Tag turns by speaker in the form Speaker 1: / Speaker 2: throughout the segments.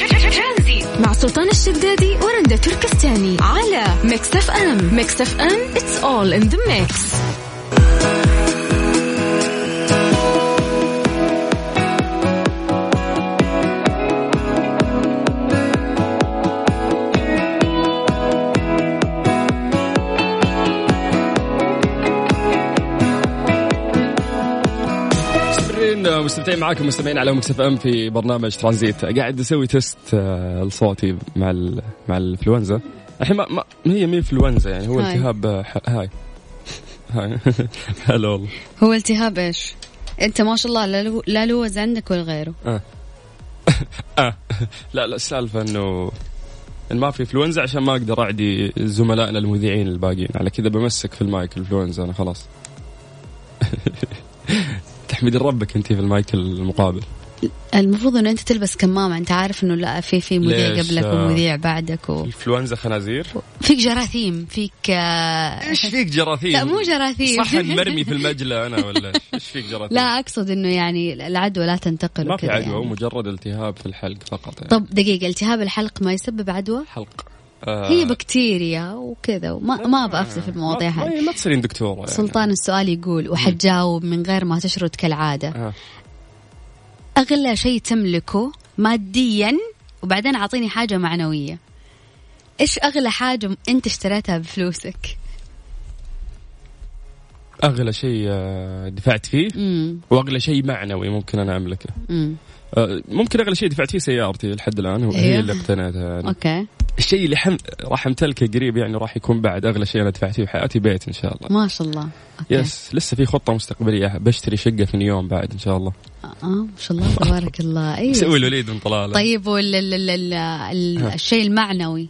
Speaker 1: ترانزيت مع سلطان الشدادي ورندا تركستاني على ميكس اف ام ميكس اف ام اتس اول ان ذا ميكس
Speaker 2: مستمرين مستمتعين معاكم مستمعين على مكسف ام في برنامج ترانزيت قاعد اسوي تيست آه، لصوتي مع ال... مع الانفلونزا الحين ما... ما ما هي مي انفلونزا يعني هو
Speaker 3: هاي.
Speaker 2: التهاب آه، ح- هاي هاي هلا والله
Speaker 3: هو التهاب ايش؟ انت ما شاء الله لا لو- لا لوز عندك ولا غيره
Speaker 2: آه. لا لا السالفه انه إن ما في انفلونزا عشان ما اقدر اعدي زملائنا المذيعين الباقيين على كذا بمسك في المايك انفلونزا انا خلاص تحمدين ربك انت في المايك المقابل
Speaker 3: المفروض انه انت تلبس كمامه انت عارف انه لا في في مذيع
Speaker 2: ليش؟
Speaker 3: قبلك
Speaker 2: آه.
Speaker 3: ومذيع بعدك و...
Speaker 2: انفلونزا خنازير
Speaker 3: فيك جراثيم فيك آه،
Speaker 2: ايش فيك جراثيم؟
Speaker 3: لا، مو جراثيم.
Speaker 2: صح مرمي في المجلى انا ولا إيش؟ ايش فيك جراثيم؟
Speaker 3: لا اقصد انه يعني العدوى لا تنتقل
Speaker 2: ما في
Speaker 3: وكذا
Speaker 2: عدوى هو
Speaker 3: يعني. طيب.
Speaker 2: مجرد التهاب في الحلق فقط يعني.
Speaker 3: طب دقيقه التهاب الحلق ما يسبب عدوى؟
Speaker 2: حلق آه
Speaker 3: هي بكتيريا وكذا وما ما ابغى افزع في المواضيع
Speaker 2: ما-
Speaker 3: هذه
Speaker 2: ما- ما تصيرين دكتوره يعني.
Speaker 3: سلطان السؤال يقول وحتجاوب من غير ما تشرد كالعاده
Speaker 2: آه.
Speaker 3: اغلى شيء تملكه ماديا وبعدين اعطيني حاجه معنويه ايش اغلى حاجه م- انت اشتريتها بفلوسك
Speaker 2: اغلى شيء آه، دفعت فيه
Speaker 3: امم
Speaker 2: واغلى شيء معنوي ممكن انا املكه
Speaker 3: امم
Speaker 2: آه، ممكن اغلى شيء دفعت فيه سيارتي لحد الان هو-
Speaker 3: أيوه.
Speaker 2: هي اللي اقتنيتها يعني.
Speaker 3: اوكي
Speaker 2: الشيء اللي حم... راح امتلكه قريب يعني راح يكون بعد اغلى شيء انا دفعت فيه في حياتي بيت ان شاء الله
Speaker 3: ما شاء الله اوكي
Speaker 2: يس لسه في خطه مستقبليه بشتري شقه في نيوم بعد ان شاء الله
Speaker 3: اه ما شاء الله تبارك الله
Speaker 2: سوي
Speaker 3: ايوه
Speaker 2: الوليد من طلاله
Speaker 3: طيب وال ال- ال- ال- ال- الشيء المعنوي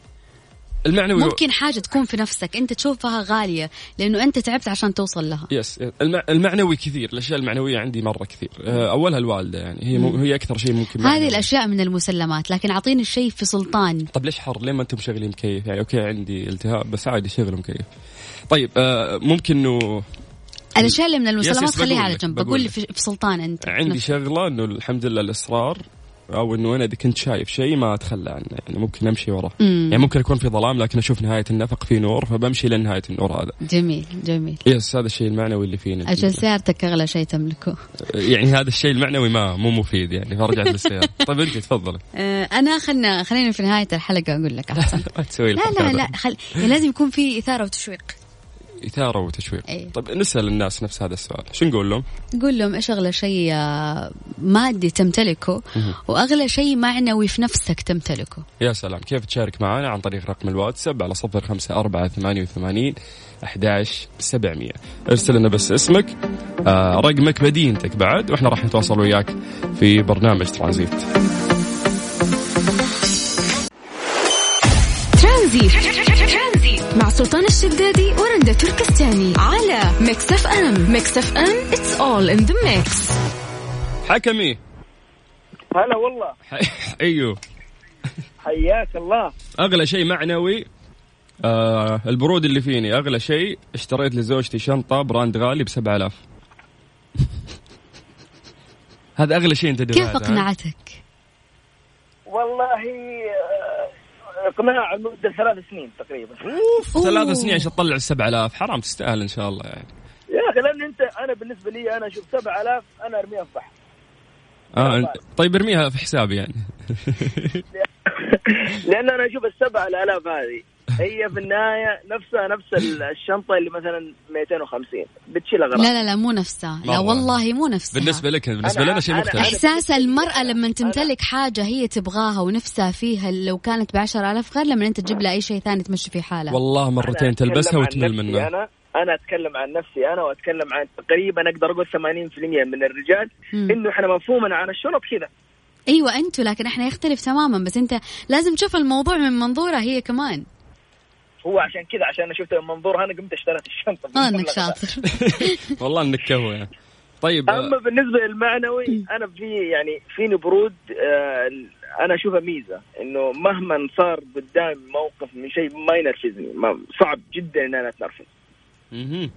Speaker 2: المعنوي
Speaker 3: ممكن حاجه تكون في نفسك انت تشوفها غاليه لانه انت تعبت عشان توصل لها
Speaker 2: يس المع... المعنوي كثير الاشياء المعنويه عندي مره كثير أه، اولها الوالده يعني هي م... هي اكثر شيء ممكن يعني. معنوي.
Speaker 3: هذه الاشياء من المسلمات لكن اعطيني الشيء في سلطان
Speaker 2: طب طيب، ليش حر؟ ليه ما انتم مشغلين مكيف؟ يعني اوكي عندي التهاب بس عادي شغل مكيف. طيب آه ممكن انه
Speaker 3: الاشياء اللي من
Speaker 2: يس،
Speaker 3: المسلمات
Speaker 2: بقول
Speaker 3: خليها على
Speaker 2: لك،
Speaker 3: جنب
Speaker 2: بقول
Speaker 3: بقول لي
Speaker 2: لك.
Speaker 3: في في سلطان انت
Speaker 2: عندي شغله انه الحمد لله الاصرار او انه انا اذا كنت شايف شيء ما اتخلى عنه يعني ممكن امشي وراه.
Speaker 3: مم.
Speaker 2: يعني ممكن اكون في ظلام لكن اشوف نهايه النفق في نور فبمشي لنهايه النور هذا.
Speaker 3: جميل جميل
Speaker 2: يس هذا الشيء المعنوي اللي فيني.
Speaker 3: عشان سيارتك اغلى شيء تملكه
Speaker 2: يعني هذا الشيء المعنوي ما مو مفيد يعني فرجعت للسياره. طيب انت تفضلي
Speaker 3: آه، انا خلنا خلينا في نهايه الحلقه اقول لك احسن
Speaker 2: ما تسوي
Speaker 3: لا
Speaker 2: الحركة
Speaker 3: لا لا خل... يعني لازم يكون في اثاره وتشويق
Speaker 2: اثاره وتشويق
Speaker 3: أي.
Speaker 2: طيب نسال الناس نفس هذا السؤال شو نقول لهم
Speaker 3: قول لهم ايش اغلى شيء آه، مادي تمتلكه واغلى شيء معنوي في نفسك تمتلكه
Speaker 2: يا سلام كيف تشارك معنا عن طريق رقم الواتساب على صفر خمسة أربعة ثمانية وثمانين أحداش سبعمية ارسل لنا بس اسمك آه رقمك مدينتك بعد وإحنا راح نتواصل وياك في برنامج ترانزيت
Speaker 1: ترانزيت مع سلطان الشدادي ورندا تركستاني على ميكس اف ام ميكس اف ام اتس اول ان ذا ميكس
Speaker 2: حكمي
Speaker 4: هلا والله
Speaker 2: ح- أيوه
Speaker 4: حياك الله
Speaker 2: أغلى شيء معنوي آه البرود اللي فيني أغلى شيء اشتريت لزوجتي شنطة براند غالي بسبعة آلاف هذا أغلى شيء أنت
Speaker 3: كيف
Speaker 2: دفعته، ها؟
Speaker 3: اقنعتك
Speaker 4: والله آه، اقناع لمده ثلاث سنين تقريبا
Speaker 2: اوف
Speaker 3: أوه.
Speaker 2: ثلاث سنين عشان تطلع ال 7000 حرام تستاهل ان شاء الله يعني
Speaker 4: يا اخي لان انت انا بالنسبه لي انا اشوف 7000 انا ارميها في البحر
Speaker 2: اه أنت- طيب ارميها في حسابي يعني
Speaker 4: لان انا اشوف ال 7000 هذه هي في النهايه نفسها نفس ال- الشنطه اللي مثلا 250 بتشيل
Speaker 3: لا
Speaker 4: اغراض
Speaker 3: لا لا مو نفسها لا
Speaker 2: مرة.
Speaker 3: والله مو نفسها
Speaker 2: بالنسبه لك بالنسبه
Speaker 4: أنا-
Speaker 2: لنا شيء
Speaker 4: أنا-
Speaker 2: مختلف
Speaker 3: احساس المراه لما تمتلك حاجه هي تبغاها ونفسها فيها لو كانت ب 10000 غير لما انت تجيب لها اي شيء ثاني تمشي فيه حالها
Speaker 2: والله مرتين
Speaker 4: أنا أتكلم
Speaker 2: تلبسها
Speaker 4: عن
Speaker 2: وتمل
Speaker 4: نفسي
Speaker 2: منها
Speaker 4: انا انا اتكلم عن نفسي انا واتكلم عن تقريبا اقدر اقول 80% من الرجال
Speaker 3: مم.
Speaker 4: انه احنا مفهومنا عن الشنط كذا
Speaker 3: ايوه انتوا لكن احنا يختلف تماما بس انت لازم تشوف الموضوع من منظورها هي كمان
Speaker 4: هو عشان كذا عشان انا شفته من منظور انا قمت اشتريت الشنطه
Speaker 5: آه،
Speaker 3: اه انك
Speaker 4: بالمبلغ ده.
Speaker 3: شاطر
Speaker 2: والله انك كهوة يعني طيب آه،
Speaker 4: اما بالنسبه للمعنوي انا في يعني فيني برود آه، انا اشوفها ميزه انه مهما صار قدامي موقف من شيء ما ينرفزني ما صعب جدا ان انا اتنرفز
Speaker 2: مهم.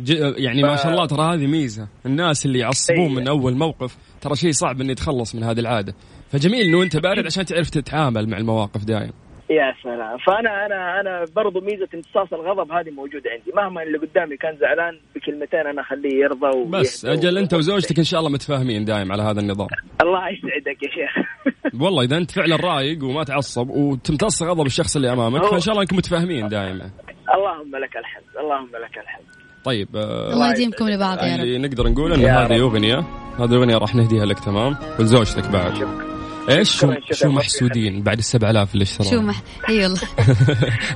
Speaker 2: ج... يعني ما شاء الله ترى هذه ميزه الناس اللي يعصبون
Speaker 5: إيه.
Speaker 2: من اول موقف ترى شيء صعب ان يتخلص من هذه العاده فجميل انه انت بارد عشان تعرف تتعامل مع المواقف دايم
Speaker 5: يا سلام فانا انا انا برضو ميزه امتصاص الغضب هذه موجوده عندي مهما اللي قدامي كان زعلان بكلمتين انا اخليه يرضى ويهدى
Speaker 2: بس اجل انت وزوجتك ان شاء الله متفاهمين دايم على هذا النظام
Speaker 5: الله يسعدك يا شيخ
Speaker 2: والله اذا انت فعلا رايق وما تعصب وتمتص غضب الشخص اللي امامك
Speaker 5: أوه.
Speaker 2: فان شاء الله انكم متفاهمين دائما
Speaker 5: اللهم لك الحمد اللهم لك الحمد
Speaker 2: طيب آه،
Speaker 3: الله يديمكم لبعض يا رب
Speaker 2: اللي نقدر نقول ان
Speaker 5: يا
Speaker 2: هذه
Speaker 5: رب.
Speaker 2: اغنيه هذه اغنيه راح نهديها لك تمام ولزوجتك بعد
Speaker 5: شكرا
Speaker 2: ايش شو,
Speaker 5: شكراً، شكراً.
Speaker 2: شو محسودين بعد ال 7000 اللي
Speaker 3: شو
Speaker 2: اشتروها
Speaker 3: مح... اي والله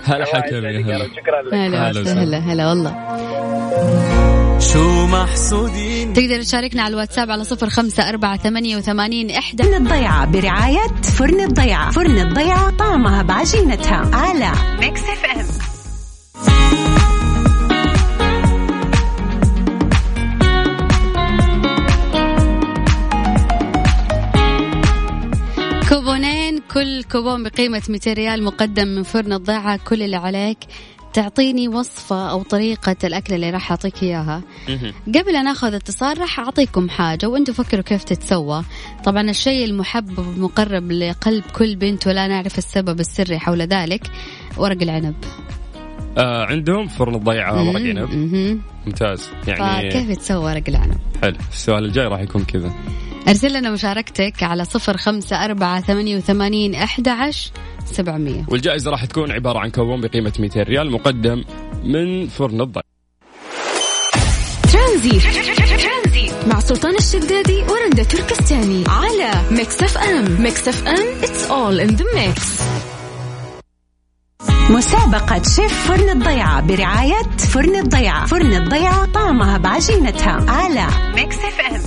Speaker 2: هلا
Speaker 5: الله
Speaker 2: حكم
Speaker 5: يسعدك يا
Speaker 2: يا هلا
Speaker 5: رب، شكرا لك
Speaker 3: هلا وسهلا.
Speaker 2: هلا وسهلا.
Speaker 3: هلا هلا والله
Speaker 6: شو محسودين
Speaker 3: تقدر تشاركنا على الواتساب على صفر خمسة أربعة ثمانية وثمانين إحدى
Speaker 7: فرن الضيعة برعاية فرن الضيعة فرن الضيعة طعمها بعجينتها على ميكس اف ام
Speaker 3: كوبونين كل كوبون بقيمة 200 ريال مقدم من فرن الضيعة كل اللي عليك تعطيني وصفة أو طريقة الأكل اللي راح أعطيك إياها قبل أن أخذ اتصال راح أعطيكم حاجة وأنتوا فكروا كيف تتسوى طبعا الشيء المحبب المقرب لقلب كل بنت ولا نعرف السبب السري حول ذلك ورق العنب
Speaker 2: آه عندهم فرن الضيعه ورق عنب
Speaker 3: مهم.
Speaker 2: ممتاز يعني
Speaker 3: فكيف يتسوى ورق العنب
Speaker 2: حلو السؤال الجاي راح يكون كذا
Speaker 3: أرسل لنا مشاركتك على صفر خمسة أربعة ثمانية وثمانين أحد عشر سبعمية
Speaker 2: والجائزه راح تكون عباره عن كوبون بقيمه 200 ريال مقدم من فرن الضيعه
Speaker 1: ترانزي مع سلطان الشدادي ورندا تركستاني على ميكس اف ام ميكس اف ام it's all in the mix
Speaker 7: مسابقة شيف فرن الضيعة برعاية فرن الضيعة فرن الضيعة طعمها بعجينتها على ميكس اف ام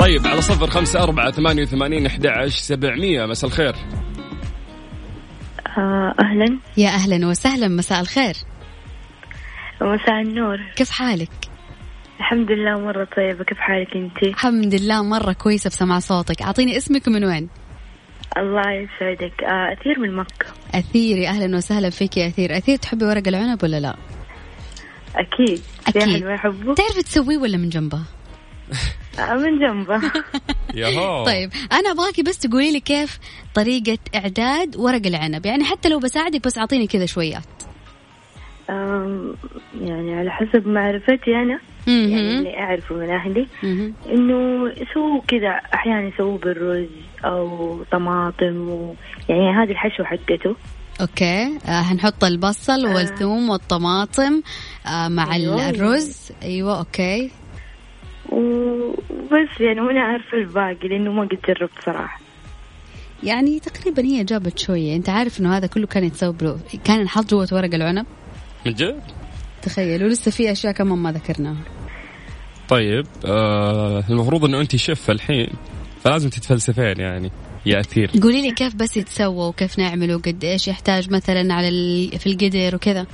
Speaker 2: طيب على صفر خمسة أربعة ثمانية وثمانين أحد سبعمية مساء الخير
Speaker 8: آه، أهلا
Speaker 3: يا أهلا وسهلا مساء الخير
Speaker 8: مساء النور
Speaker 3: كيف حالك؟
Speaker 8: الحمد لله مرة طيبة كيف حالك أنت
Speaker 3: الحمد لله مرة كويسة بسمع صوتك أعطيني اسمك من وين؟
Speaker 8: الله يسعدك آه، أثير من مكة
Speaker 3: أثير يا أهلا وسهلا فيك يا أثير أثير تحبي ورق العنب ولا لا؟
Speaker 8: أكيد
Speaker 3: أكيد.
Speaker 8: أحد ما يحبه
Speaker 3: تعرفي تسويه ولا من جنبه؟
Speaker 8: آه، من جنبه
Speaker 2: ياهو
Speaker 3: طيب أنا أبغاكي بس تقولي لي كيف طريقة إعداد ورق العنب يعني حتى لو بساعدك بس أعطيني كذا شويات
Speaker 8: آم، يعني على حسب معرفتي أنا يعني
Speaker 3: مهم.
Speaker 8: اللي أعرفه من أهلي
Speaker 3: مهم.
Speaker 8: إنه يسووا كذا أحيانا يسووا بالرز أو طماطم و... يعني هذه الحشوة حقته
Speaker 3: أوكي آه هنحط البصل والثوم والطماطم آه مع
Speaker 8: أيوة.
Speaker 3: الرز أيوة أوكي
Speaker 8: وبس يعني وأنا عارفة الباقي لأنه ما قد جربت صراحة
Speaker 3: يعني تقريبا هي جابت شوية أنت عارف إنه هذا كله كان يتسوى بلو كان ينحط جوة ورق العنب
Speaker 2: من جد؟
Speaker 3: تخيل ولسه في أشياء كمان ما ذكرناها
Speaker 2: طيب آه المفروض أنه أنت شف الحين فلازم تتفلسفين يعني يا أثير
Speaker 3: قولي لي كيف بس يتسوى وكيف نعمله وقد إيش يحتاج مثلا على ال... في القدر وكذا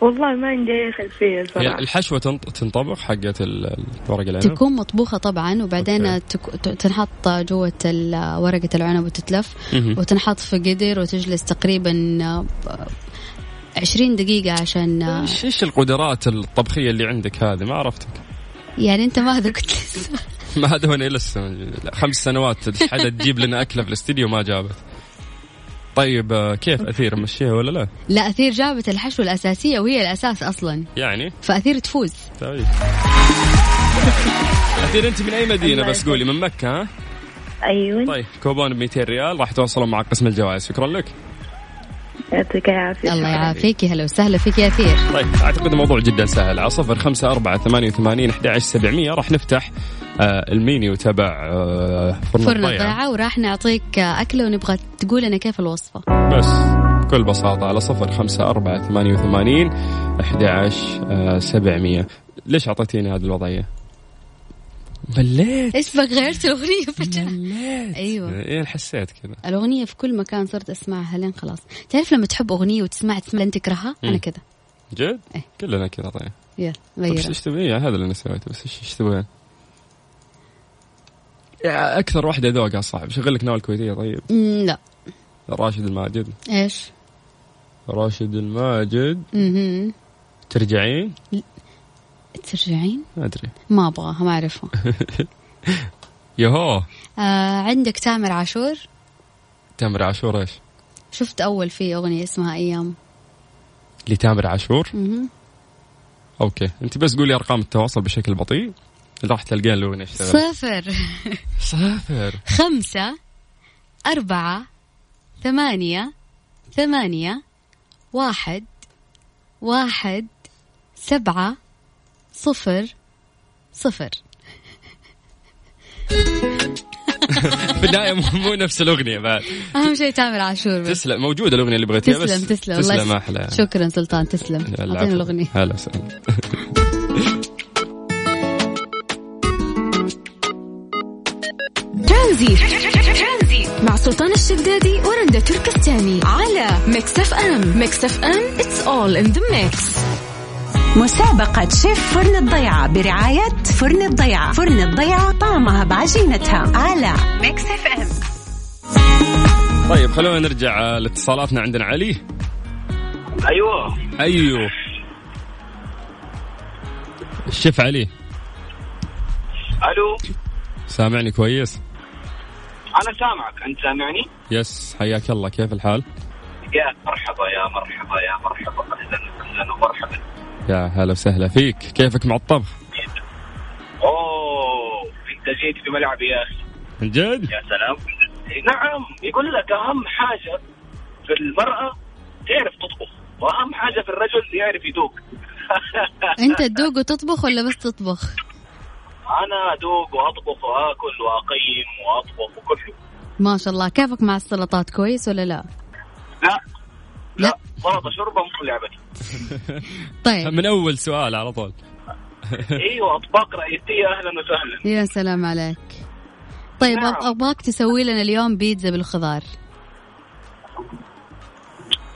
Speaker 8: والله ما عندي أي خلفية
Speaker 2: هي
Speaker 8: صراحة
Speaker 2: الحشوة تنط- تنطبخ حقت ال- ورق العنب
Speaker 3: تكون مطبوخة طبعا وبعدين
Speaker 2: أوكي.
Speaker 3: تك... ت- تنحط جوة ال- ورقة العنب وتتلف
Speaker 2: مهم.
Speaker 3: وتنحط في قدر وتجلس تقريبا آه، 20 دقيقة عشان آه،
Speaker 2: ايش ايش القدرات الطبخية اللي عندك هذه ما عرفتك
Speaker 3: يعني أنت ما ذقت لسه
Speaker 2: ما أدوني لسه خمس سنوات حدا تجيب لنا أكلة في الاستديو ما جابت طيب آه، كيف أثير مشيها ولا لا؟
Speaker 3: لا أثير جابت الحشوة الأساسية وهي الأساس أصلا
Speaker 2: يعني
Speaker 3: فأثير تفوز
Speaker 2: طيب أثير أنت من أي مدينة بس قولي من مكة ها؟
Speaker 8: أيوة
Speaker 2: طيب كوبون ب 200 ريال راح توصلوا مع قسم الجوائز شكرا لك
Speaker 8: يعطيك العافية
Speaker 3: الله يعافيك يا هلا وسهلا فيك يا أثير
Speaker 2: طيب اعتقد الموضوع جدا سهل على صفر خمسة أربعة ثمانية وثمانين أحد عشر سبعمية راح نفتح آه المينيو تبع آه فرن,
Speaker 3: فرن
Speaker 2: الضيعة
Speaker 3: الضيعة وراح نعطيك آه، أكلة ونبغى تقول لنا كيف الوصفة
Speaker 2: بس بكل بساطة على صفر خمسة أربعة ثمانية وثمانين آه، أحد عشر سبعمية ليش أعطيتيني هذه الوضعية؟ مليت
Speaker 3: ايش بك غيرت الاغنيه فجاه
Speaker 2: مليت
Speaker 3: أيوة.
Speaker 2: ايه حسيت كذا
Speaker 3: الاغنيه في كل مكان صرت اسمعها لين خلاص تعرف لما تحب اغنيه وتسمعها تسمع لين تكرهها انا
Speaker 2: مم.
Speaker 3: كذا
Speaker 2: جد؟
Speaker 3: إيه.
Speaker 2: كلنا كذا طيب
Speaker 3: يلا
Speaker 2: طيب ايش
Speaker 3: غيرها
Speaker 2: ايش تبي؟ إيه، هذا اللي انا سويته بس ايش ايش تبغين؟ يا اكثر واحده يعني ذوقها صعب شغل لك نوال كويتيه طيب
Speaker 3: مم، لا
Speaker 2: راشد الماجد
Speaker 3: ايش؟
Speaker 2: راشد الماجد
Speaker 3: مهم.
Speaker 2: ترجعين
Speaker 3: ترجعين؟
Speaker 2: ما ادري
Speaker 3: ما ابغاها ما اعرفها
Speaker 2: يهو
Speaker 3: آه عندك تامر عاشور
Speaker 2: تامر عاشور ايش
Speaker 3: شفت اول في اغنيه اسمها ايام
Speaker 2: لتامر عاشور
Speaker 3: مهم.
Speaker 2: اوكي انت بس قولي ارقام التواصل بشكل بطيء راح تلقين الاغنيه اشتغلت
Speaker 3: صفر
Speaker 2: صفر
Speaker 3: خمسة أربعة ثمانية ثمانية واحد واحد سبعة صفر صفر
Speaker 2: في النهايه مو- مو نفس الاغنيه بعد
Speaker 3: أهم شيء تامر عاشور بس
Speaker 2: تسلم موجوده الاغنيه اللي بغيتيها بس
Speaker 3: تسلم تسلم والله
Speaker 2: تسلم احلى
Speaker 3: شكرا سلطان تسلم
Speaker 2: لا،
Speaker 3: أعطينا
Speaker 2: العفو.
Speaker 3: الأغنية
Speaker 2: هلا وسهلا
Speaker 1: ترانزي مع سلطان الشدادي ورندا تركستاني على ميكس اف ام ميكس اف ام اتس اول ان ذا ميكس
Speaker 7: مسابقة شيف فرن الضيعة برعاية فرن الضيعة فرن الضيعة طعمها بعجينتها على ميكس اف ام
Speaker 2: طيب خلونا نرجع آه، لاتصالاتنا عندنا علي
Speaker 5: ايوه
Speaker 2: ايوه الشيف علي
Speaker 5: الو
Speaker 2: سامعني كويس
Speaker 5: انا سامعك انت سامعني؟
Speaker 2: يس حياك الله كيف الحال
Speaker 5: يا مرحبا يا مرحبا يا مرحبا اهلا اهلا ومرحبا
Speaker 2: يا هلا وسهلا فيك كيفك مع الطبخ
Speaker 5: اوه انت جيت في ملعبي يا اخي
Speaker 2: من جد
Speaker 5: يا سلام نعم يقول لك اهم حاجه في المراه تعرف تطبخ واهم حاجه في الرجل يعرف يدوق
Speaker 3: أنت تدوق وتطبخ ولا بس تطبخ
Speaker 5: انا ادوق واطبخ واكل واقيم واطبخ وكله
Speaker 3: ما شاء الله كيفك مع السلطات كويس ولا لا
Speaker 5: لا
Speaker 3: لا.
Speaker 5: لا سلطه شوربه مو لعبتي
Speaker 3: طيب
Speaker 2: من اول سؤال على طول
Speaker 5: ايوه اطباق رئيسيه اهلا وسهلا
Speaker 3: يا سلام عليك طيب
Speaker 5: نعم.
Speaker 3: أب- أبغاك تسوي لنا اليوم بيتزا بالخضار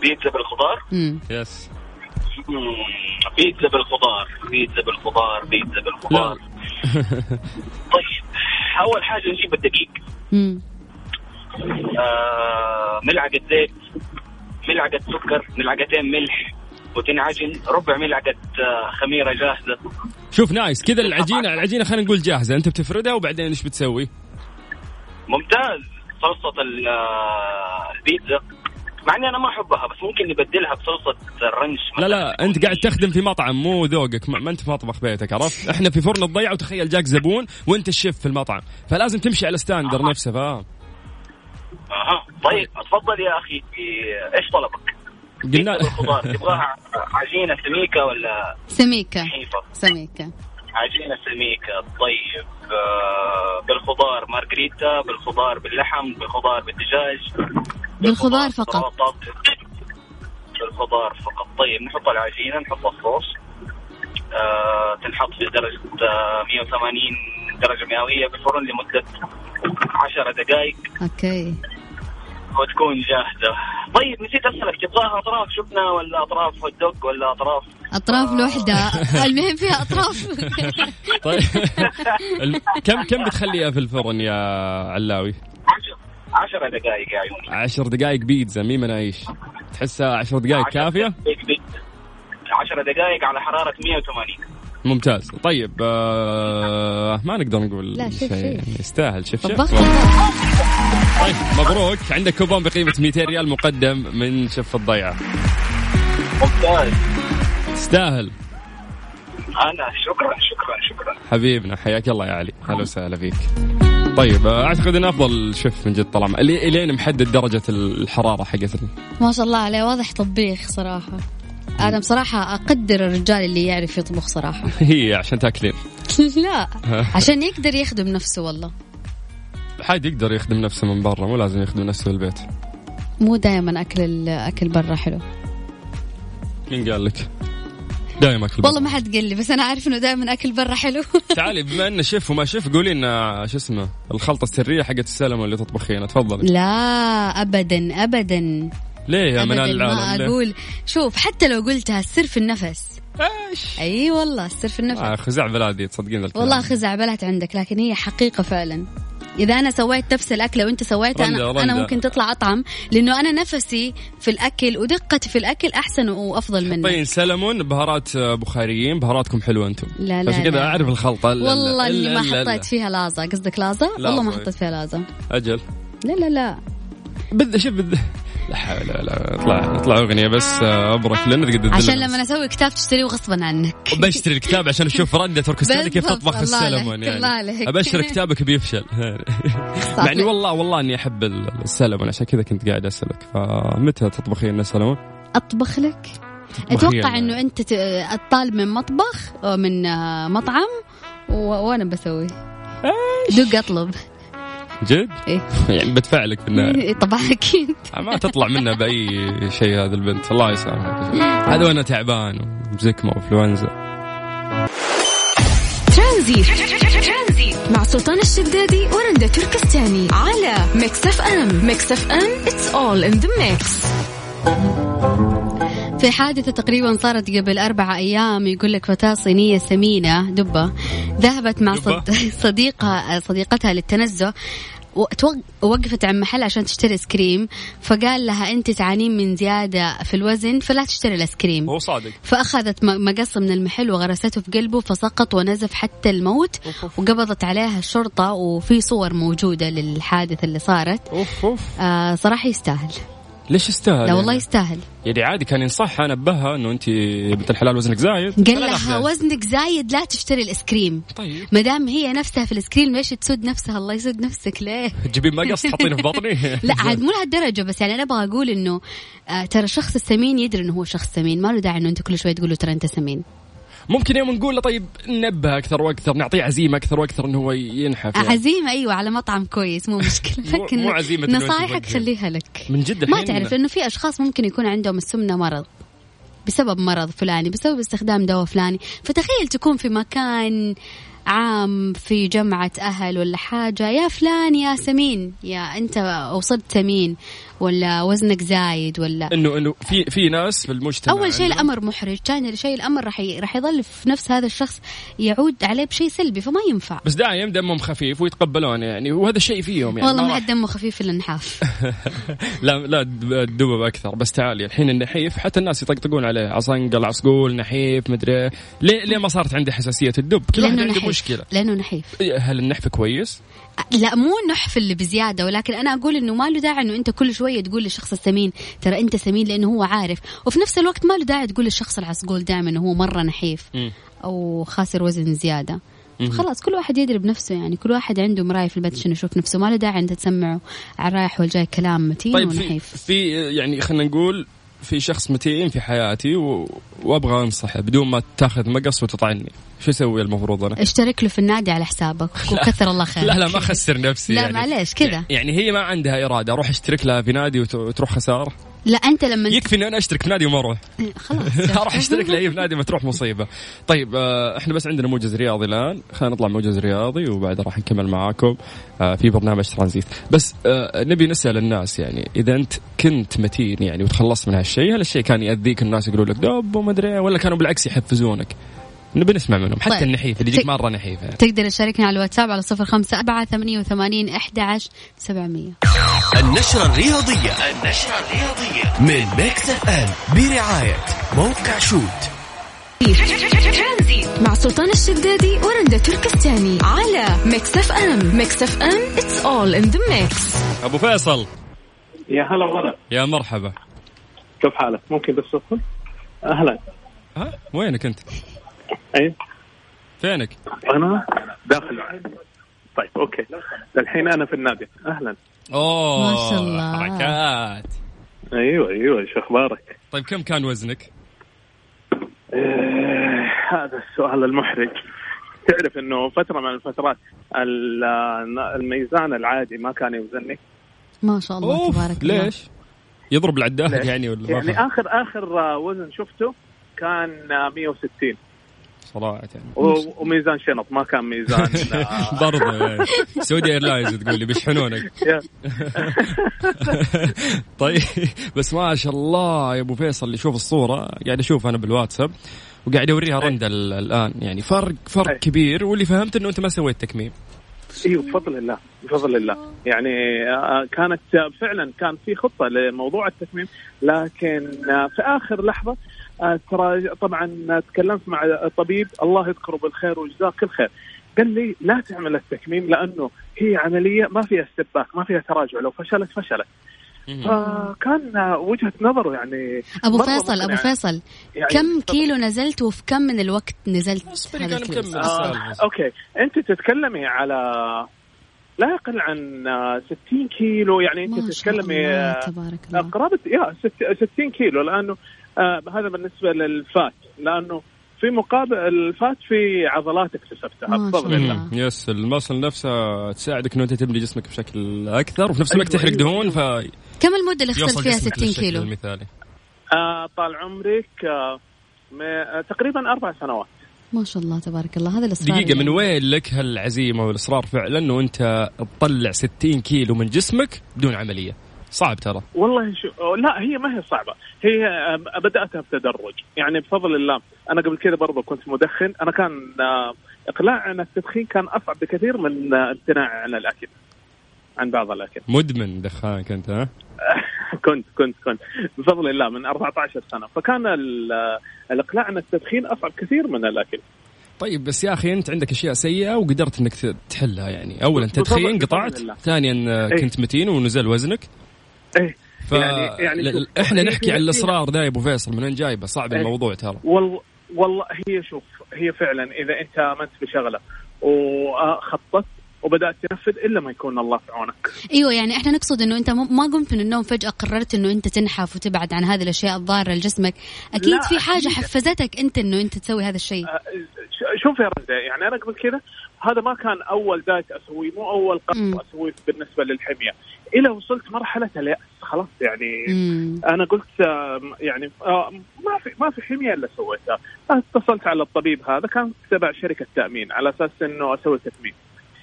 Speaker 5: بيتزا بالخضار
Speaker 3: مم.
Speaker 2: يس
Speaker 5: مم، بيتزا بالخضار بيتزا بالخضار بيتزا بالخضار طيب اول حاجه نجيب الدقيق
Speaker 3: مم.
Speaker 5: آه، ملعقة زيت ملعقة سكر ملعقتين ملح وتنعجن ربع ملعقة آه، خميرة جاهزة
Speaker 2: شوف نايس كذا العجينه العجينه خلينا نقول جاهزه انت بتفردها وبعدين ايش بتسوي؟
Speaker 5: ممتاز صلصة ال- آه، البيتزا مع اني انا ما احبها بس ممكن نبدلها بصلصة الرنش
Speaker 2: لا لا انت قاعد تخدم في مطعم مو ذوقك ما ما انت في مطبخ بيتك عرفت؟ احنا في فرن الضيعه وتخيل جاك زبون وانت الشيف في المطعم فلازم تمشي على ستاندر نفسه فاهم؟
Speaker 5: اها طيب اتفضل يا اخي إيه، ايش طلبك؟
Speaker 2: قلنا
Speaker 5: بيتزا بالخضار تبغاها عجينة سميكة ولا
Speaker 3: سميكة
Speaker 5: حيفا؟
Speaker 3: سميكة
Speaker 5: عجينة سميكة طيب آه، بالخضار مارجريتا بالخضار باللحم بالخضار بالدجاج
Speaker 3: بالخضار فقط
Speaker 5: سلطات. بالخضار فقط طيب نحط العجينه نحط الصوص آه، تنحط في درجه آه، 180 درجه مئويه بالفرن لمده 10 دقائق
Speaker 3: اوكي
Speaker 5: وتكون جاهزه طيب نسيت اسالك تبغاها اطراف جبنه ولا اطراف هوت دوج ولا اطراف
Speaker 3: اطراف لوحدة المهم فيها اطراف
Speaker 2: طيب الم- كم كم بتخليها في الفرن يا علاوي؟
Speaker 5: 10 10 دقائق يا عيوني
Speaker 2: عشر دقائق بيتزا مي منايش تحسها عشر دقائق كافية
Speaker 5: 10 دقائق على حراره 180
Speaker 2: ممتاز طيب آه ما نقدر نقول
Speaker 3: لا، شيف
Speaker 2: شيء
Speaker 3: شيف.
Speaker 2: يستاهل شيف شيف
Speaker 3: طبختها
Speaker 2: طيب مبروك عندك كوبون بقيمة 200 ريال مقدم من شف الضيعة
Speaker 5: ممتاز
Speaker 2: تستاهل
Speaker 5: انا شكرا شكرا شكرا
Speaker 2: حبيبنا حياك الله يا علي اهلا وسهلا فيك طيب آه، اعتقد انه افضل شيف من جد طالما الي- الين محدد درجه الحراره حقتنا
Speaker 3: ما شاء الله عليه واضح طبيخ صراحة انا بصراحة اقدر الرجال اللي يعرف يطبخ صراحة
Speaker 2: هي عشان تاكلين
Speaker 3: لا عشان يقدر يخدم نفسه والله
Speaker 2: حد يقدر يخدم نفسه من برا مو لازم يخدم نفسه بالبيت
Speaker 3: مو دائما اكل الاكل برا حلو
Speaker 2: مين قال لك دائما اكل برا.
Speaker 3: والله ما حد قال لي بس انا عارف انه دائما اكل برا حلو
Speaker 2: تعالي بما انه شيف وما شيف قولي لنا شو اسمه الخلطه السريه حقت السلمه اللي تطبخينها تفضلي
Speaker 3: لا ابدا ابدا
Speaker 2: ليه يا منال
Speaker 3: ابدا ما
Speaker 2: العالم ليه؟
Speaker 3: اقول شوف حتى لو قلتها السر في النفس
Speaker 2: ايش
Speaker 3: اي والله السر في النفس
Speaker 2: آه خزعبلة هذه تصدقين ذا الكلام.
Speaker 3: والله خزعبلات عندك لكن هي حقيقه فعلا اذا انا سويت نفس الاكله وانت سويتها انا
Speaker 2: رندا- رندا.
Speaker 3: انا ممكن تطلع اطعم لانه انا نفسي في الاكل ودقتي في الاكل احسن وافضل منك
Speaker 2: طيب سلمون بهارات آه، بخاريين بهاراتكم حلوه انتم
Speaker 3: لا، لا،
Speaker 2: عشان كذا
Speaker 3: لا.
Speaker 2: اعرف الخلطه لا، لا،
Speaker 3: والله
Speaker 2: لا،
Speaker 3: اللي ما
Speaker 2: لا، لا، طيب.
Speaker 3: حطيت فيها لازا قصدك لازا والله ما حطيت فيها لازا
Speaker 2: اجل
Speaker 3: لا لا لا
Speaker 2: بد شوف بد لا حول ولا اطلع اطلع اغنيه بس آه، ابرك لنا تقدر
Speaker 3: عشان لما اسوي كتاب تشتريه غصبا عنك
Speaker 2: بشتري الكتاب عشان اشوف رندا تركستاني كيف
Speaker 3: بالضبط،
Speaker 2: تطبخ
Speaker 3: الله عليك،
Speaker 2: السلمون يعني
Speaker 3: الله عليك.
Speaker 2: ابشر كتابك بيفشل مع اني والله والله اني احب السلمون عشان كذا كنت قاعد اسالك فمتى تطبخين لنا سلمون؟
Speaker 3: اطبخ لك اتوقع انه انت ت- تطالب من مطبخ أو من آه، مطعم و... وانا بسوي دق اطلب
Speaker 2: جد؟
Speaker 3: إيه.
Speaker 2: يعني بتفعلك في النهايه
Speaker 3: طبعا اكيد
Speaker 2: ما تطلع منها باي شيء هذه البنت الله يسامحك هذا وانا تعبان وزكمه وانفلونزا
Speaker 1: ترانزيت ترانزيت مع سلطان الشدادي ورندا تركستاني على ميكس اف ام ميكس اف ام اتس اول ان ذا ميكس
Speaker 3: في حادثة تقريبا صارت قبل أربعة أيام يقول لك فتاة صينية سمينة دبة ذهبت مع
Speaker 2: دبة؟
Speaker 3: صد... صديقها صديقتها للتنزه وتوق- وقفت عند محل عشان تشتري ايس كريم فقال لها انت تعانين من زياده في الوزن فلا تشتري الايس كريم
Speaker 2: هو صادق
Speaker 3: فأخذت م- مقص من المحل وغرسته في قلبه فسقط ونزف حتى الموت وقبضت عليها الشرطة وفي صور موجودة للحادث اللي صارت
Speaker 2: اوف اوف
Speaker 3: آه صراحة يستاهل
Speaker 2: ليش استاهل؟
Speaker 3: لا والله يستاهل
Speaker 2: يعني عادي كان ينصحها انبهها انه انت يا بنت الحلال وزنك زايد
Speaker 3: قال
Speaker 2: فلا
Speaker 3: لها
Speaker 2: ناخذها.
Speaker 3: وزنك زايد لا تشتري الايس كريم
Speaker 2: طيب
Speaker 3: ما دام هي نفسها في الايس كريم ليش تسود نفسها الله يسود نفسك ليه
Speaker 2: تجيبين مقص تحطينه في بطني
Speaker 3: لا عاد مو لهالدرجه بس يعني انا ابغى اقول انه آه ترى الشخص السمين يدري انه هو شخص سمين ما له داعي انه انت كل شوي تقول له ترى انت سمين
Speaker 2: ممكن يوم نقول له طيب ننبه اكثر واكثر نعطيه عزيمه اكثر واكثر انه هو ينحف يعني.
Speaker 3: عزيمه ايوه على مطعم كويس مو مشكله
Speaker 2: مو-
Speaker 3: لكن
Speaker 2: مو عزيمة إنه أنت
Speaker 3: نصايحك
Speaker 2: توجه.
Speaker 3: خليها لك
Speaker 2: من جد
Speaker 3: ما
Speaker 2: الحين-
Speaker 3: تعرف انه في اشخاص ممكن يكون عندهم السمنه مرض بسبب مرض فلاني بسبب استخدام دواء فلاني فتخيل تكون في مكان عام في جمعة أهل ولا حاجة يا فلان يا سمين يا أنت وصلت سمين ولا وزنك زايد ولا
Speaker 2: انه انه في في ناس في المجتمع
Speaker 3: أول شيء
Speaker 2: عندهم-
Speaker 3: الأمر محرج ثاني شيء الأمر راح ي- راح يظل في نفس هذا الشخص يعود عليه بشيء سلبي فما ينفع
Speaker 2: بس دايم دمهم خفيف ويتقبلون يعني وهذا الشيء فيهم يعني
Speaker 3: والله
Speaker 2: ما
Speaker 3: ما
Speaker 2: راح-
Speaker 3: حد دمه خفيف إلا نحاف
Speaker 2: لا لا الدبب اكثر بس تعالي الحين النحيف حتى الناس يطقطقون عليه عصنقل عصقول نحيف مدري إيه. ليه ليه ما صارت عندي حساسيه الدب كل واحد
Speaker 3: لأنه
Speaker 2: عنده
Speaker 3: نحيف
Speaker 2: مشكله
Speaker 3: لأنه نحيف
Speaker 2: هل النحف كويس؟
Speaker 3: لا مو النحف اللي بزياده ولكن انا اقول انه ما له داعي انه انت كل شويه تقول للشخص السمين ترى انت سمين لانه هو عارف وفي نفس الوقت ما له داعي تقول للشخص العسقول دائما انه هو مره نحيف
Speaker 2: مم.
Speaker 3: او خاسر وزن زياده خلاص كل واحد يدري بنفسه يعني كل واحد عنده مرايه في البيت عشان يشوف نفسه ما له داعي انت تسمعه على الرايح والجاي كلام متين
Speaker 2: طيب في,
Speaker 3: ونحيف
Speaker 2: في يعني خلينا نقول في شخص متين في حياتي و... وابغى انصحه بدون ما تاخذ مقص وتطعني شو اسوي المفروض انا؟
Speaker 3: اشترك له في النادي على حسابك وكثر الله خيرك
Speaker 2: لا لا ما اخسر نفسي
Speaker 3: لا
Speaker 2: يعني.
Speaker 3: معليش كذا
Speaker 2: يعني هي ما عندها اراده اروح اشترك لها في نادي وت- وتروح خساره
Speaker 3: لا انت لما
Speaker 2: يكفي اني انا اشترك في نادي وما اروح
Speaker 3: خلاص
Speaker 2: اروح اشترك لاي نادي ما تروح مصيبه طيب آه، احنا بس عندنا موجز رياضي الان خلينا نطلع موجز رياضي وبعدها راح نكمل معاكم آه، في برنامج ترانزيت بس آه، نبي نسال الناس يعني اذا انت كنت متين يعني وتخلصت من هالشيء هل الشيء كان ياذيك الناس يقولوا لك دب وما ادري إيه، ولا كانوا بالعكس يحفزونك نبي نسمع منهم حتى
Speaker 3: طيب.
Speaker 2: النحيف اللي يجيك
Speaker 3: تك-
Speaker 2: مره نحيف يعني.
Speaker 3: تقدر تشاركنا على الواتساب على صفر خمسة أربعة ثمانية وثمانين أحد عشر سبعمية
Speaker 6: النشرة الرياضية النشرة الرياضية من ميكس اف ام برعاية موقع شوت
Speaker 1: ترانزيت مع سلطان الشدادي ورندا تركستاني على ميكس اف ام ميكس اف ام اتس اول ان ذا ميكس
Speaker 2: ابو فيصل
Speaker 9: يا هلا وغلا
Speaker 2: يا مرحبا
Speaker 9: كيف حالك ممكن بس ادخل اهلا
Speaker 2: ها وينك انت؟
Speaker 9: اي
Speaker 2: فينك؟
Speaker 9: انا داخل طيب اوكي الحين انا في النادي اهلا
Speaker 2: اوه
Speaker 3: ما شاء الله.
Speaker 2: حركات
Speaker 9: ايوه ايوه شو اخبارك
Speaker 2: طيب كم كان وزنك؟
Speaker 9: آه، هذا السؤال المحرج تعرف انه فتره من الفترات ال- الميزان العادي ما كان يوزنني
Speaker 3: ما شاء الله
Speaker 2: أوف،
Speaker 3: تبارك الله
Speaker 2: ليش؟ يضرب العداد يعني ولا ما
Speaker 9: يعني
Speaker 2: خلاص؟
Speaker 9: اخر اخر وزن شفته كان آه، 160 آه.
Speaker 2: صراحه
Speaker 9: و- وميزان شنط ما كان ميزان آه،
Speaker 2: برضه يعني. سعودي ايرلاينز تقول لي بيشحنونك
Speaker 9: يا-
Speaker 2: طيب بس ما شاء الله يا ابو فيصل اللي شوف الصوره قاعد اشوف انا بالواتساب وقاعد اوريها
Speaker 9: إيه.
Speaker 2: رندا ال- الان يعني فرق فرق
Speaker 9: أي.
Speaker 2: كبير واللي فهمت انه انت ما سويت تكميم
Speaker 9: ايوه بفضل الله بفضل الله يعني آه، كانت آه، فعلا كان في خطه لموضوع التكميم لكن آه، في اخر لحظه آه، ترى طبعا آه، تكلمت مع الطبيب الله يذكره بالخير ويجزاه كل خير قال لي لا تعمل التكميم لانه هي عمليه ما فيها استباك ما فيها تراجع لو فشلت فشلت فكان آه، وجهه نظره يعني
Speaker 3: ابو
Speaker 9: مرة
Speaker 3: فيصل ابو
Speaker 9: مقنعة.
Speaker 3: فيصل
Speaker 9: يعني
Speaker 3: كم كيلو نزلت وفي كم من الوقت نزلت
Speaker 2: اصبري
Speaker 3: هذا
Speaker 2: خلينا نكمل.
Speaker 3: الكيلو
Speaker 9: آه اوكي انت تتكلمي على لا يقل عن آه، 60 كيلو يعني انت
Speaker 3: ما شاء
Speaker 9: تتكلمي
Speaker 3: الله
Speaker 9: آه،
Speaker 3: تبارك الله
Speaker 9: قرابه يا ست- 60 كيلو لانه آه هذا بالنسبه للفات لانه في مقابل الفات في عضلات اكتسبتها
Speaker 3: ما شاء
Speaker 9: بفضل الله
Speaker 3: الله.
Speaker 2: يس المصل نفسه تساعدك انه انت تبني جسمك بشكل اكثر وفي نفس الوقت
Speaker 9: أيوة،
Speaker 2: تحرق
Speaker 9: أيوة،
Speaker 2: دهون فيوصل
Speaker 3: كم المده اللي اخترت فيها
Speaker 2: جسمك
Speaker 3: 60
Speaker 2: للشكل
Speaker 3: كيلو
Speaker 2: المثالي
Speaker 9: آه طال عمرك آه ما- آه، تقريبا اربع سنوات
Speaker 3: ما شاء الله تبارك الله هذا الاصرار
Speaker 2: دقيقة من
Speaker 3: يعني.
Speaker 2: وين لك هالعزيمة والإصرار فعلا أنه أنت تطلع 60 كيلو من جسمك بدون عملية صعب ترى
Speaker 9: والله شو آه، لا هي ما هي صعبه هي آه، بداتها بتدرج يعني بفضل الله انا قبل كده برضه كنت مدخن انا كان آه اقلاع عن التدخين كان اصعب بكثير من آه، امتناع عن الاكل عن بعض الاكل
Speaker 2: مدمن دخان كنت ها
Speaker 9: كنت كنت كنت بفضل الله من 14 سنه فكان ال- الاقلاع عن التدخين اصعب كثير من الاكل
Speaker 2: طيب بس يا اخي انت عندك اشياء سيئه وقدرت انك ت- تحلها يعني اولا
Speaker 9: بفضل-
Speaker 2: تدخين
Speaker 9: بفضل
Speaker 2: قطعت
Speaker 9: الله.
Speaker 2: ثانيا آه،
Speaker 9: إيه.
Speaker 2: كنت متين ونزل وزنك
Speaker 9: ايه
Speaker 2: ف
Speaker 9: يعني- يعني
Speaker 2: ل-
Speaker 9: شوف،
Speaker 2: احنا
Speaker 9: هي-
Speaker 2: نحكي
Speaker 9: هي-
Speaker 2: عن
Speaker 9: هي-
Speaker 2: الاصرار ذا يا ابو فيصل من وين جايبه صعب
Speaker 9: إيه.
Speaker 2: الموضوع ترى
Speaker 9: وال والله هي شوف هي فعلا اذا انت امنت بشغله وخططت وبدات تنفذ الا ما يكون الله في عونك
Speaker 3: ايوه يعني احنا نقصد انه انت مو- ما قمت من النوم فجاه قررت انه انت تنحف وتبعد عن هذه الاشياء الضاره لجسمك اكيد
Speaker 9: لا،
Speaker 3: في حاجه
Speaker 9: أكيد.
Speaker 3: حفزتك انت انه انت تسوي هذا الشيء
Speaker 9: آه، ش- شوف يا رندا يعني انا قبل كذا هذا ما كان اول دايت اسويه مو اول
Speaker 3: مم.
Speaker 9: قرض اسويه بالنسبه للحميه الى وصلت مرحله الياس خلاص يعني
Speaker 3: مم.
Speaker 9: انا قلت آم، يعني آم، ما في ما في حميه الا سويتها اتصلت على الطبيب هذا كان تبع شركه تامين على اساس انه اسوي تكميم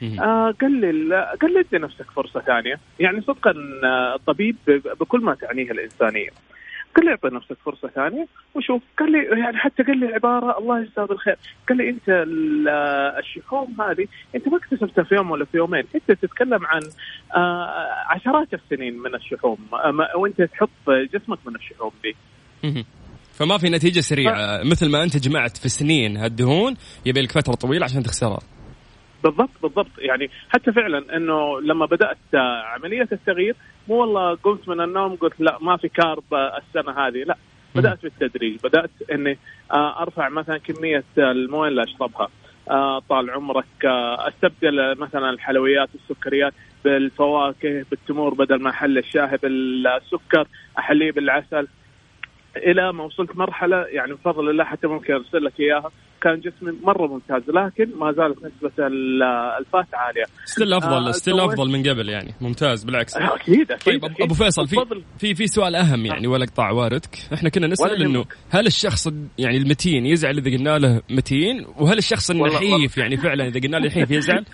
Speaker 2: مم.
Speaker 9: آه قال لي لا- قال لي ادي نفسك فرصه ثانيه يعني صدقا آه، الطبيب ب- بكل ما تعنيه الانسانيه قال لي اعطي نفسك فرصه ثانيه وشوف قال لي يعني حتى قال لي عباره الله يجزاه بالخير قال لي انت ال- آه، الشحوم هذه انت ما اكتسبتها في يوم ولا في يومين انت تتكلم عن آه، عشرات السنين من الشحوم آه، ما- وانت تحط جسمك من الشحوم دي
Speaker 2: مهم. فما في نتيجه سريعه مثل ما انت جمعت في سنين هالدهون يبي لك فتره طويله عشان تخسرها
Speaker 9: بالضبط بالضبط يعني حتى فعلا انه لما بدات آه، عمليه التغيير مو والله قمت من النوم قلت لا ما في كارب آه، السنه هذه لا بدات بالتدريج بدات اني آه، ارفع مثلا كميه آه، المويه اللي اشربها آه، طال عمرك آه، استبدل آه، مثلا الحلويات والسكريات بالفواكه بالتمور بدل ما احل الشاهي بالسكر احليه بالعسل الى ما وصلت مرحله يعني بفضل الله حتى ممكن ارسل لك اياها كان جسمي مره ممتاز لكن ما زالت نسبه ال- الفات عاليه
Speaker 2: ستيل افضل
Speaker 9: آه،
Speaker 2: ستيل
Speaker 9: سويت-
Speaker 2: افضل من قبل يعني ممتاز بالعكس
Speaker 9: اكيد اكيد
Speaker 2: طيب ابو فيصل في
Speaker 9: بالفضل.
Speaker 2: في في سؤال اهم يعني ولا اقطع واردك احنا كنا نسال
Speaker 9: ولا
Speaker 2: انه
Speaker 9: يهمك.
Speaker 2: هل الشخص الد- يعني المتين يزعل اذا قلنا له متين وهل الشخص
Speaker 9: والله-
Speaker 2: النحيف يعني فعلا اذا قلنا له نحيف يزعل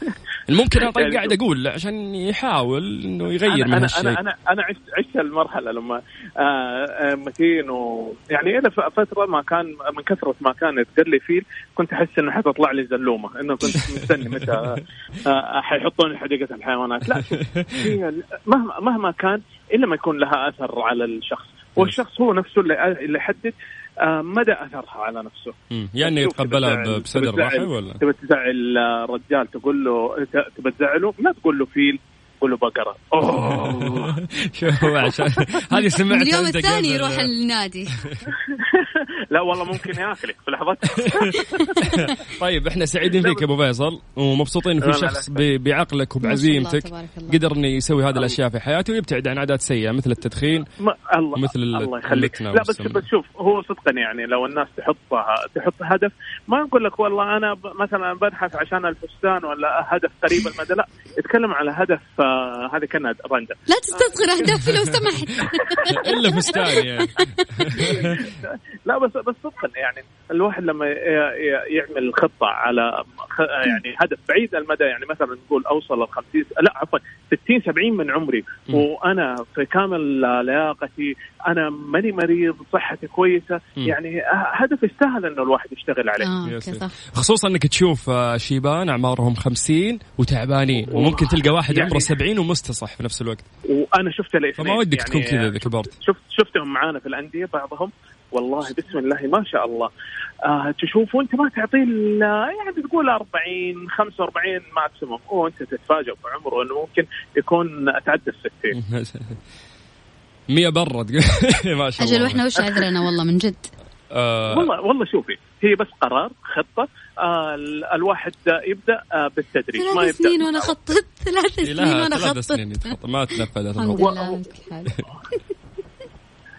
Speaker 2: ممكن انا طيب
Speaker 9: يعني
Speaker 2: قاعد اقول عشان يحاول انه يغير من
Speaker 9: انا
Speaker 2: هالشيء
Speaker 9: انا انا انا عشت عشت المرحله لما آه، آه، متين و يعني الى ف- فتره ما كان من كثره ما كان يتقل لي فيل كنت احس انه حتطلع لي زلومه انه كنت مستني متى آه، آه، حيحطوني حديقه الحيوانات لا شوف، هي ال- مهما مهما كان الا ما يكون لها اثر على الشخص
Speaker 2: نعم.
Speaker 9: والشخص هو نفسه اللي اللي يحدد آه، مدى اثرها على نفسه
Speaker 2: مم. يعني
Speaker 9: شوف،
Speaker 2: يتقبلها
Speaker 9: تبي تزعل-
Speaker 2: ب- بصدر
Speaker 9: تبي
Speaker 2: رحب
Speaker 9: تزعل-
Speaker 2: ولا
Speaker 9: تبي تزعل آه، الرجال تقول له ت- تبي تزعله لا تقول له فيل قول له بقره اوه
Speaker 2: شوف عشان هذه
Speaker 3: من
Speaker 2: سمعتها
Speaker 3: اليوم
Speaker 2: أنت
Speaker 3: الثاني
Speaker 2: قبل.
Speaker 3: يروح النادي
Speaker 9: لا والله ممكن ياكلك في لحظتها
Speaker 2: طيب احنا سعيدين فيك يا ابو فيصل ومبسوطين في
Speaker 9: لا، لا،
Speaker 2: شخص
Speaker 9: لا.
Speaker 2: ب- بعقلك
Speaker 3: ما شاء
Speaker 2: وبعزيمتك
Speaker 3: الله، تبارك الله.
Speaker 2: قدر انه يسوي هذه الاشياء في حياته ويبتعد عن عادات سيئه مثل التدخين
Speaker 9: ما الله
Speaker 2: مثل ال-
Speaker 9: الله يخليك
Speaker 2: اللتنة
Speaker 9: لا بس
Speaker 2: والسمنة.
Speaker 9: بس شوف هو صدقا يعني لو الناس تحطها تحط هدف ما نقول لك والله انا ب- مثلا ببحث عشان الفستان ولا هدف قريب المدى لا اتكلم على هدف آه، فهذه كانت رنده
Speaker 3: لا تستذخر اهدافي لو سمحت
Speaker 2: الا فستان يعني
Speaker 9: لا بس بس صدقا يعني الواحد لما ي- ي- يعمل خطه على خ- يعني هدف بعيد المدى يعني مثلا نقول اوصل ل 50 لا عفوا 60 70 من عمري
Speaker 2: مم.
Speaker 9: وانا في كامل لياقتي انا ماني مريض صحتي كويسه
Speaker 2: مم. آه.
Speaker 9: يعني ه- هدف يستاهل انه الواحد يشتغل عليه
Speaker 3: اه
Speaker 2: يا
Speaker 3: اوكي
Speaker 2: سيدي.
Speaker 3: صح
Speaker 2: خصوصا انك تشوف آه، شيبان اعمارهم خمسين وتعبانين وممكن تلقى واحد
Speaker 9: يعني-
Speaker 2: عمره سبعين ومستصح في نفس الوقت
Speaker 9: وانا شفت الاثنين
Speaker 2: فما ودك
Speaker 9: يعني
Speaker 2: تكون
Speaker 3: آه.
Speaker 2: كذا ذا كبرت
Speaker 9: شفت شفتهم معانا في الانديه بعضهم والله بسم الله ما شاء الله آه تشوفه انت ما تعطيه إلا يعني تقول 40 45 ماكسيموم وانت تتفاجئ بعمره انه ممكن يكون اتعدى ال 60
Speaker 2: مية برد ما شاء الله
Speaker 3: اجل واحنا وش عذرنا والله من جد
Speaker 2: آه
Speaker 9: والله والله شوفي هي بس قرار خطه آه ال- الواحد يبدا آه بالتدريج ما
Speaker 3: ثلاث
Speaker 9: يبدا
Speaker 3: سنين وانا خططت ثلاث سنين
Speaker 2: لها
Speaker 3: وانا
Speaker 2: ثلاث
Speaker 3: خططت
Speaker 2: سنين يتخطى. ما تنفذت
Speaker 3: الحمد
Speaker 2: الموضوع
Speaker 3: لله على كل حال.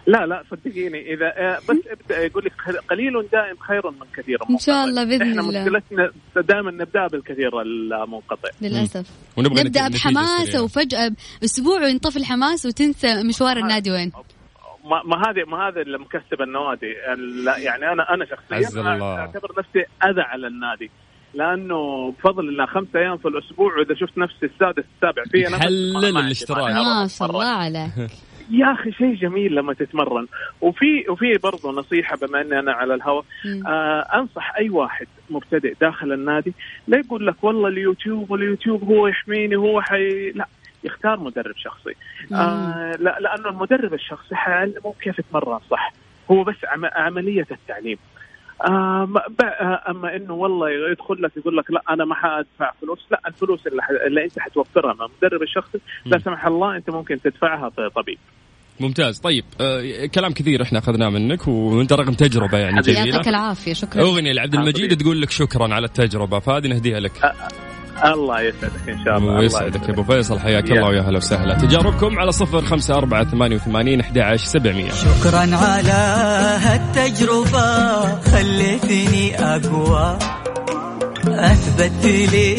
Speaker 9: لا لا صدقيني اذا آه بس ابدا يقول لك خل- قليل دائم خير من كثير
Speaker 3: ان شاء الله باذن
Speaker 9: احنا
Speaker 3: الله
Speaker 9: مشكلتنا دائما نبدا بالكثير المنقطع
Speaker 3: للاسف
Speaker 2: ونبغى
Speaker 3: نبدا
Speaker 2: نتيجة
Speaker 3: بحماس
Speaker 2: سريعة. آه.
Speaker 3: وفجاه اسبوع وينطفي الحماس وتنسى مشوار النادي وين
Speaker 9: ما ما هذه ما هذا اللي مكسب النوادي لا يعني انا انا
Speaker 2: عز
Speaker 9: شخصيا
Speaker 2: الله.
Speaker 9: اعتبر نفسي اذى على النادي لانه بفضل الله خمس ايام في الاسبوع واذا شفت نفسي السادس السابع فيه انا
Speaker 2: حلل
Speaker 9: ما- ما عندي
Speaker 2: الاشتراك.
Speaker 9: مانع أروح
Speaker 3: ما شاء
Speaker 9: أتمرن.
Speaker 3: الله عليك
Speaker 9: يا اخي شيء جميل لما تتمرن وفي وفي برضه نصيحه بما اني انا على الهواء
Speaker 3: مم.
Speaker 9: آه انصح اي واحد مبتدئ داخل النادي لا يقول لك والله اليوتيوب واليوتيوب هو يحميني هو حي لا يختار مدرب شخصي آه لا لانه المدرب الشخصي حيعلمه كيف يتمرن صح هو بس عم عمليه التعليم آه ما- ب- آه، اما انه والله يدخل لك يقول لك لا انا ما حادفع فلوس لا الفلوس اللي, ح- اللي انت حتوفرها مع المدرب الشخصي لا
Speaker 2: مم.
Speaker 9: سمح الله انت ممكن تدفعها في طبيب
Speaker 2: ممتاز طيب آه كلام كثير احنا اخذناه منك وانت رغم تجربه يعني
Speaker 3: يعطيك
Speaker 2: جميله
Speaker 3: العافيه شكرا
Speaker 2: اغنيه لعبد المجيد
Speaker 9: حبيبي.
Speaker 2: تقول لك شكرا على التجربه فهذه نهديها لك
Speaker 9: الله يسعدك ان شاء الله الله
Speaker 2: ويسعدك آه، يا ابو فيصل حياك
Speaker 9: يا.
Speaker 2: الله ويا هلا وسهلا تجاربكم على صفر خمسة أربعة ثمانية وثمانين أحد عشر سبعمية
Speaker 4: شكرا على هالتجربة خليتني أقوى أثبت لي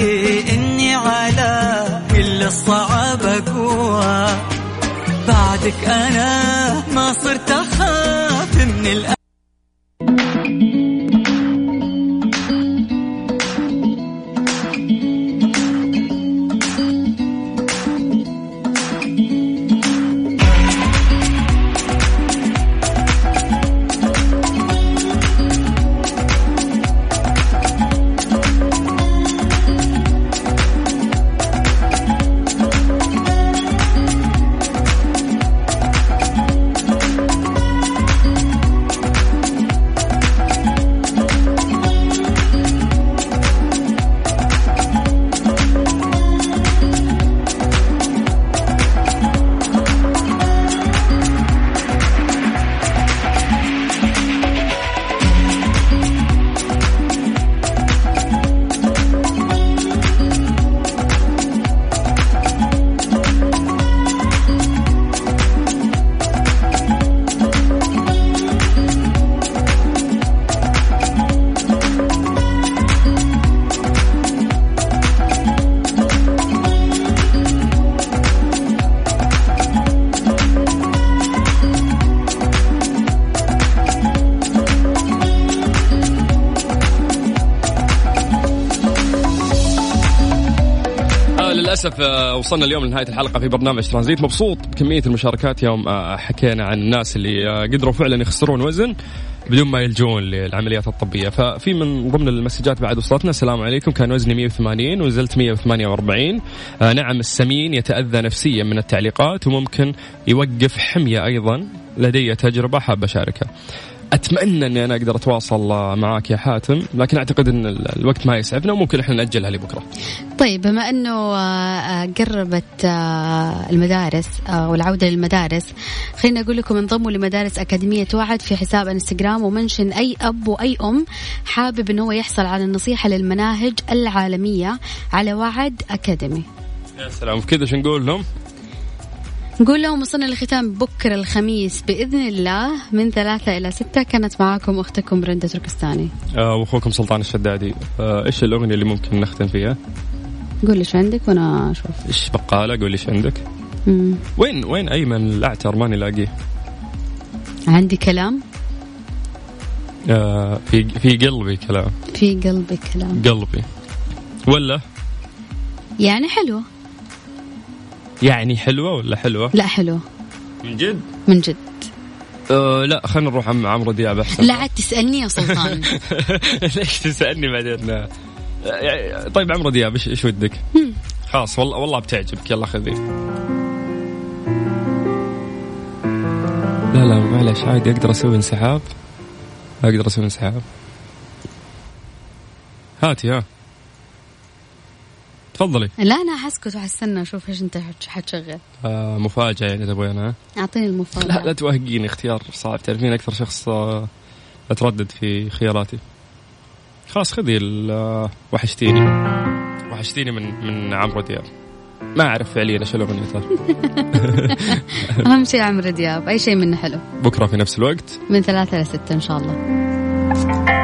Speaker 4: إني على كل الصعاب أقوى بعدك أنا ما صرت أخاف من الأ...
Speaker 2: آه للأسف آه وصلنا اليوم لنهاية الحلقة في برنامج ترانزيت مبسوط بكمية المشاركات يوم آه حكينا عن الناس اللي آه قدروا فعلا يخسرون وزن بدون ما يلجؤون للعمليات الطبية ففي من ضمن المسجات بعد وصلتنا السلام عليكم كان وزني 180 ونزلت 148 آه نعم السمين يتأذى نفسيا من التعليقات وممكن يوقف حمية أيضا لدي تجربة حاب أشاركها اتمنى اني انا اقدر اتواصل آه، معاك يا حاتم لكن اعتقد ان ال- الوقت ما يسعفنا وممكن احنا ناجلها لبكره
Speaker 3: طيب بما انه آه، آه، قربت آه، المدارس آه، والعوده للمدارس خليني اقول لكم انضموا لمدارس اكاديميه وعد في حساب انستغرام ومنشن اي اب واي ام حابب انه هو يحصل على النصيحه للمناهج العالميه على وعد اكاديمي
Speaker 2: يا سلام كذا شو نقول لهم؟
Speaker 3: نقول لهم وصلنا للختام بكره الخميس باذن الله من ثلاثه الى سته كانت معاكم اختكم رنده تركستاني
Speaker 2: آه، واخوكم سلطان الشدادي آه، ايش الاغنيه اللي ممكن نختم فيها؟
Speaker 3: قول لي شو عندك وانا اشوف
Speaker 2: ايش بقاله قول لي ايش عندك
Speaker 3: مم.
Speaker 2: وين وين ايمن الاعتر ماني لاقيه
Speaker 3: عندي كلام
Speaker 2: آه في في قلبي كلام
Speaker 3: في قلبي كلام
Speaker 2: قلبي ولا
Speaker 3: يعني حلو
Speaker 2: يعني حلوه ولا حلوه
Speaker 3: لا حلو
Speaker 2: من جد
Speaker 3: من جد
Speaker 2: آه لا خلينا نروح عم عمرو دياب احسن
Speaker 3: لا عاد تسالني يا سلطان
Speaker 2: ليش تسالني بعدين آه، يعني- طيب عمرو دياب ايش ايش ودك خلاص والله والله بتعجبك يلا خذي لا لا معلش عادي اقدر اسوي انسحاب اقدر اسوي انسحاب هاتي ها تفضلي
Speaker 3: لا انا حسكت وحستنى اشوف ايش انت حتش- حتشغل
Speaker 2: آه مفاجأة يعني تبغي أنا ها؟
Speaker 3: اعطيني المفاجاه
Speaker 2: لا لا توهقيني اختيار صعب تعرفين أكثر شخص آه، أتردد في خياراتي خلاص خذي ال- آه، وحشتيني وحشتيني من من عمرو دياب ما أعرف فعليا إيش الأغنية ترى.
Speaker 3: اهم شيء عمرو دياب اي شيء منه حلو
Speaker 2: بكرة في نفس الوقت
Speaker 3: من ثلاثة لستة ان شاء الله